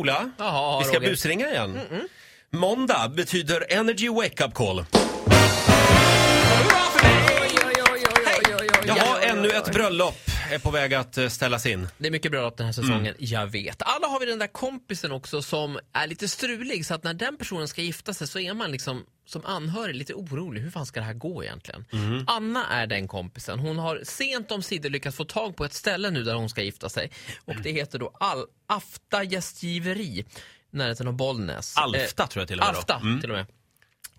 Ola, Jaha, vi ska Roger. Mm, busringa igen. Måndag betyder Energy Wake Up Call. Jag har ännu ett bröllop är på väg att eh, ställas in. Det är mycket bröllop den här säsongen, jag vet. Alla har vi den där kompisen också som är lite strulig så att när den personen ska gifta sig så är man liksom som anhörig lite orolig. Hur fan ska det här gå egentligen? Mhm. Anna är den kompisen. Hon har sent om lyckats få tag på ett ställe nu där hon ska gifta sig. Och det heter då Al- Afta gästgiveri, i närheten av Bollnäs. Eh, Alfta tror jag till och med. då. Alfta Mm. till och med.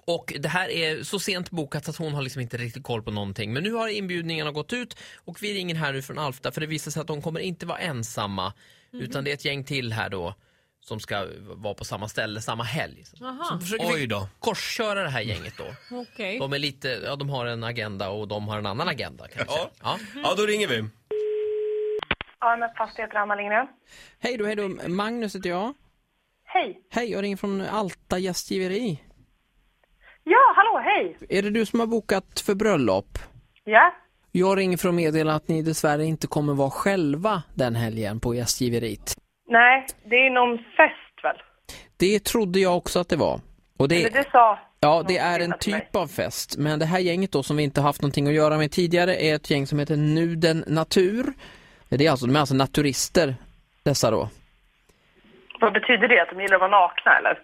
Och det här är så sent bokat att hon har liksom inte riktigt koll på någonting. Men nu har inbjudningarna gått ut och vi ringer här nu från Alfta för det visar sig att de kommer inte vara ensamma. Utan det är ett gäng till här då som ska vara på samma ställe samma helg. Så Jaha, försöker Oj då. vi korsköra det här gänget då. okej. De är lite, ja de har en agenda och de har en annan agenda kan jag säga. Ja. Ja. Mm. Ja, då ringer vi. AMF Fastigheter, Anna Lindgren. Hej då, hej då. Magnus heter jag. Hej! Hej, jag ringer från Alta gästgiveri. Ja, hallå, hej! Är det du som har bokat för bröllop? Ja, Jag ringer för att meddela att ni dessvärre inte kommer vara själva den helgen på gästgiveriet. nej, det är någon fest väl? Det trodde jag också att det var. Och Eller det, det sa... ja, någon det är en kvinna till mig. typ av fest, men det här gänget då som vi inte haft någonting att göra med tidigare är ett gäng som heter Nuden Natur. Det är alltså, de är alltså naturister, dessa då. Vad betyder det? Att de gillar att vara nakna eller?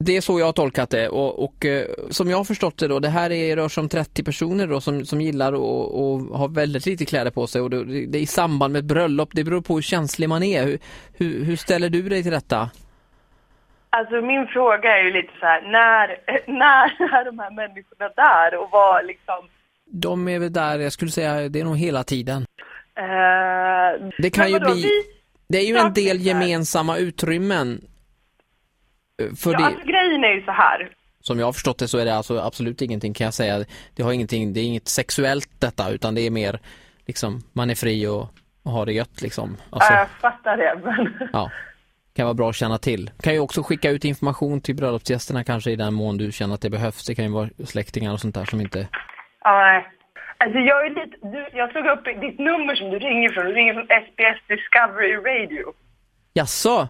Det är så jag har tolkat det och, och eh, som jag har förstått det då, det här är, rör sig om 30 personer då som, som gillar och, och har väldigt lite kläder på sig och det, det är i samband med ett bröllop, det beror på hur känslig man är. Hur, hur, hur ställer du dig till detta? Alltså min fråga är ju lite så här, när, när är de här människorna där och vad liksom... De är väl där, jag skulle säga, det är nog hela tiden. Eh, Det kan men ju vadå, bli- Vi, Det är ju en del Snart är det här. gemensamma utrymmen. eh, För ja, det, alltså, grejen är ju så här. som jag har förstått det så är det alltså absolut ingenting kan jag säga. Det, har ingenting, det är inget sexuellt detta utan det är mer liksom, man är fri och, och har det gött liksom. Alltså. Ja, jag fattar det men... Ja, kan vara bra att känna till. Kan ju också skicka ut information till bröllopsgästerna kanske i den mån du känner att det behövs. Det kan ju vara släktingar och sånt där som inte... Ja, nej. Alltså jag är lite... Du, jag slog upp ditt nummer som du ringer från. Du ringer från SBS Discovery Radio. Jaså?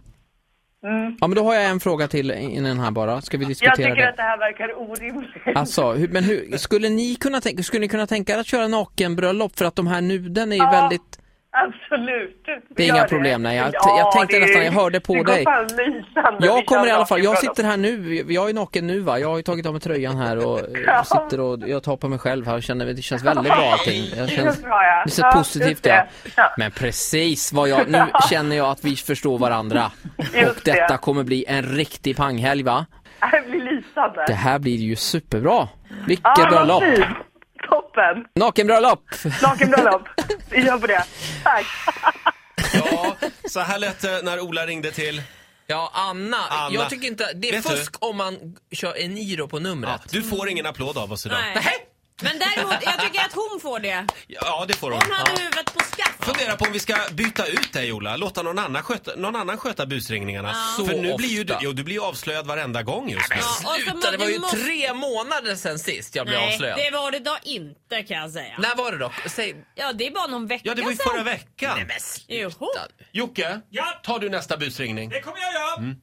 Mm. Ja men då har jag en fråga till innan här bara. Ska vi Jag diskutera tycker det? att det här verkar orimligt. Alltså, hur, men hur, skulle ni kunna tänka, skulle ni kunna tänka er att köra nakenbröllop för att de här nuden är ju Ja. väldigt... Absolut. vi Det är gör inga problem, nej. Jag- Ja, jag tänkte det är- nästan, jag hörde på det dig. Går fan lysande. Vi Jag kommer kör i alla fall, jag nakenbröllop. sitter här nu, jag är naken nu va, jag har ju tagit av mig tröjan här och eh, Ja. sitter och jag tar på mig själv här och känner, det känns väldigt bra allting. Jag Det känns, känns bra, ja. det känns Ja, positivt just det. Ja. Men precis vad jag, nu känner jag att vi förstår varandra. Just Och detta det. kommer bli en riktig panghelg va? Det blir lysande. Det här blir ju superbra. Vilket Ja, vad bröllop! fint. Toppen. Nakenbröllop! Nakenbröllop. Vi gör på det. Tack. Ja, så här lät det när Ola ringde till. ja, Anna, Anna. jag tycker inte, det är Vet du? fusk om man kör en giro på numret. Du får ingen applåd av oss idag. Nej. Men däremot, jag tycker att hon får det. Ja, det får hon. Hon hade huvudet på skaft. Fundera på om vi ska byta ut dig Ola, låta någon annan sköta, någon annan sköta busringningarna. Så För nu ofta. blir ju du, jo, du blir ju avslöjad varenda gång just nu. Ja, och så Sluta, må- det var du ju måste- tre månader sen sist jag blev Nej, avslöjad. det var det då inte kan jag säga. När var det då? Säg... Ja, det är bara någon vecka Ja, det var ju sedan. förra veckan. Nej, men sluta. Joho. Jocke, tar du nästa busringning? Det kommer jag göra!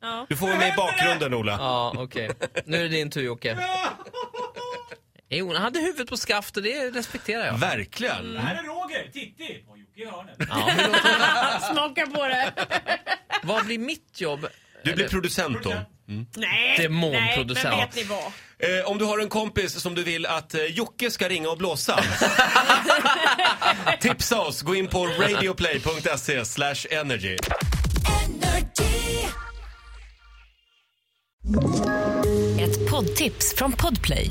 Ja. Du får vara med i bakgrunden Ola. Ja, okej. Nu är det din tur Jocke. Jo, han hade huvudet på skaft och det respekterar jag. Verkligen. Det här är Roger, Titti och Jocke i hörnet. Ja, hur låter det? Smaka på det. Vad blir mitt jobb? Du blir producent då. Nej, Demonproducent. Nej, men vet ni vad? Eh, om du har en kompis som du vill att eh, Jocke ska ringa och blåsa. Tipsa oss, gå in på radioplay.se slash energy. Ett poddtips från Podplay.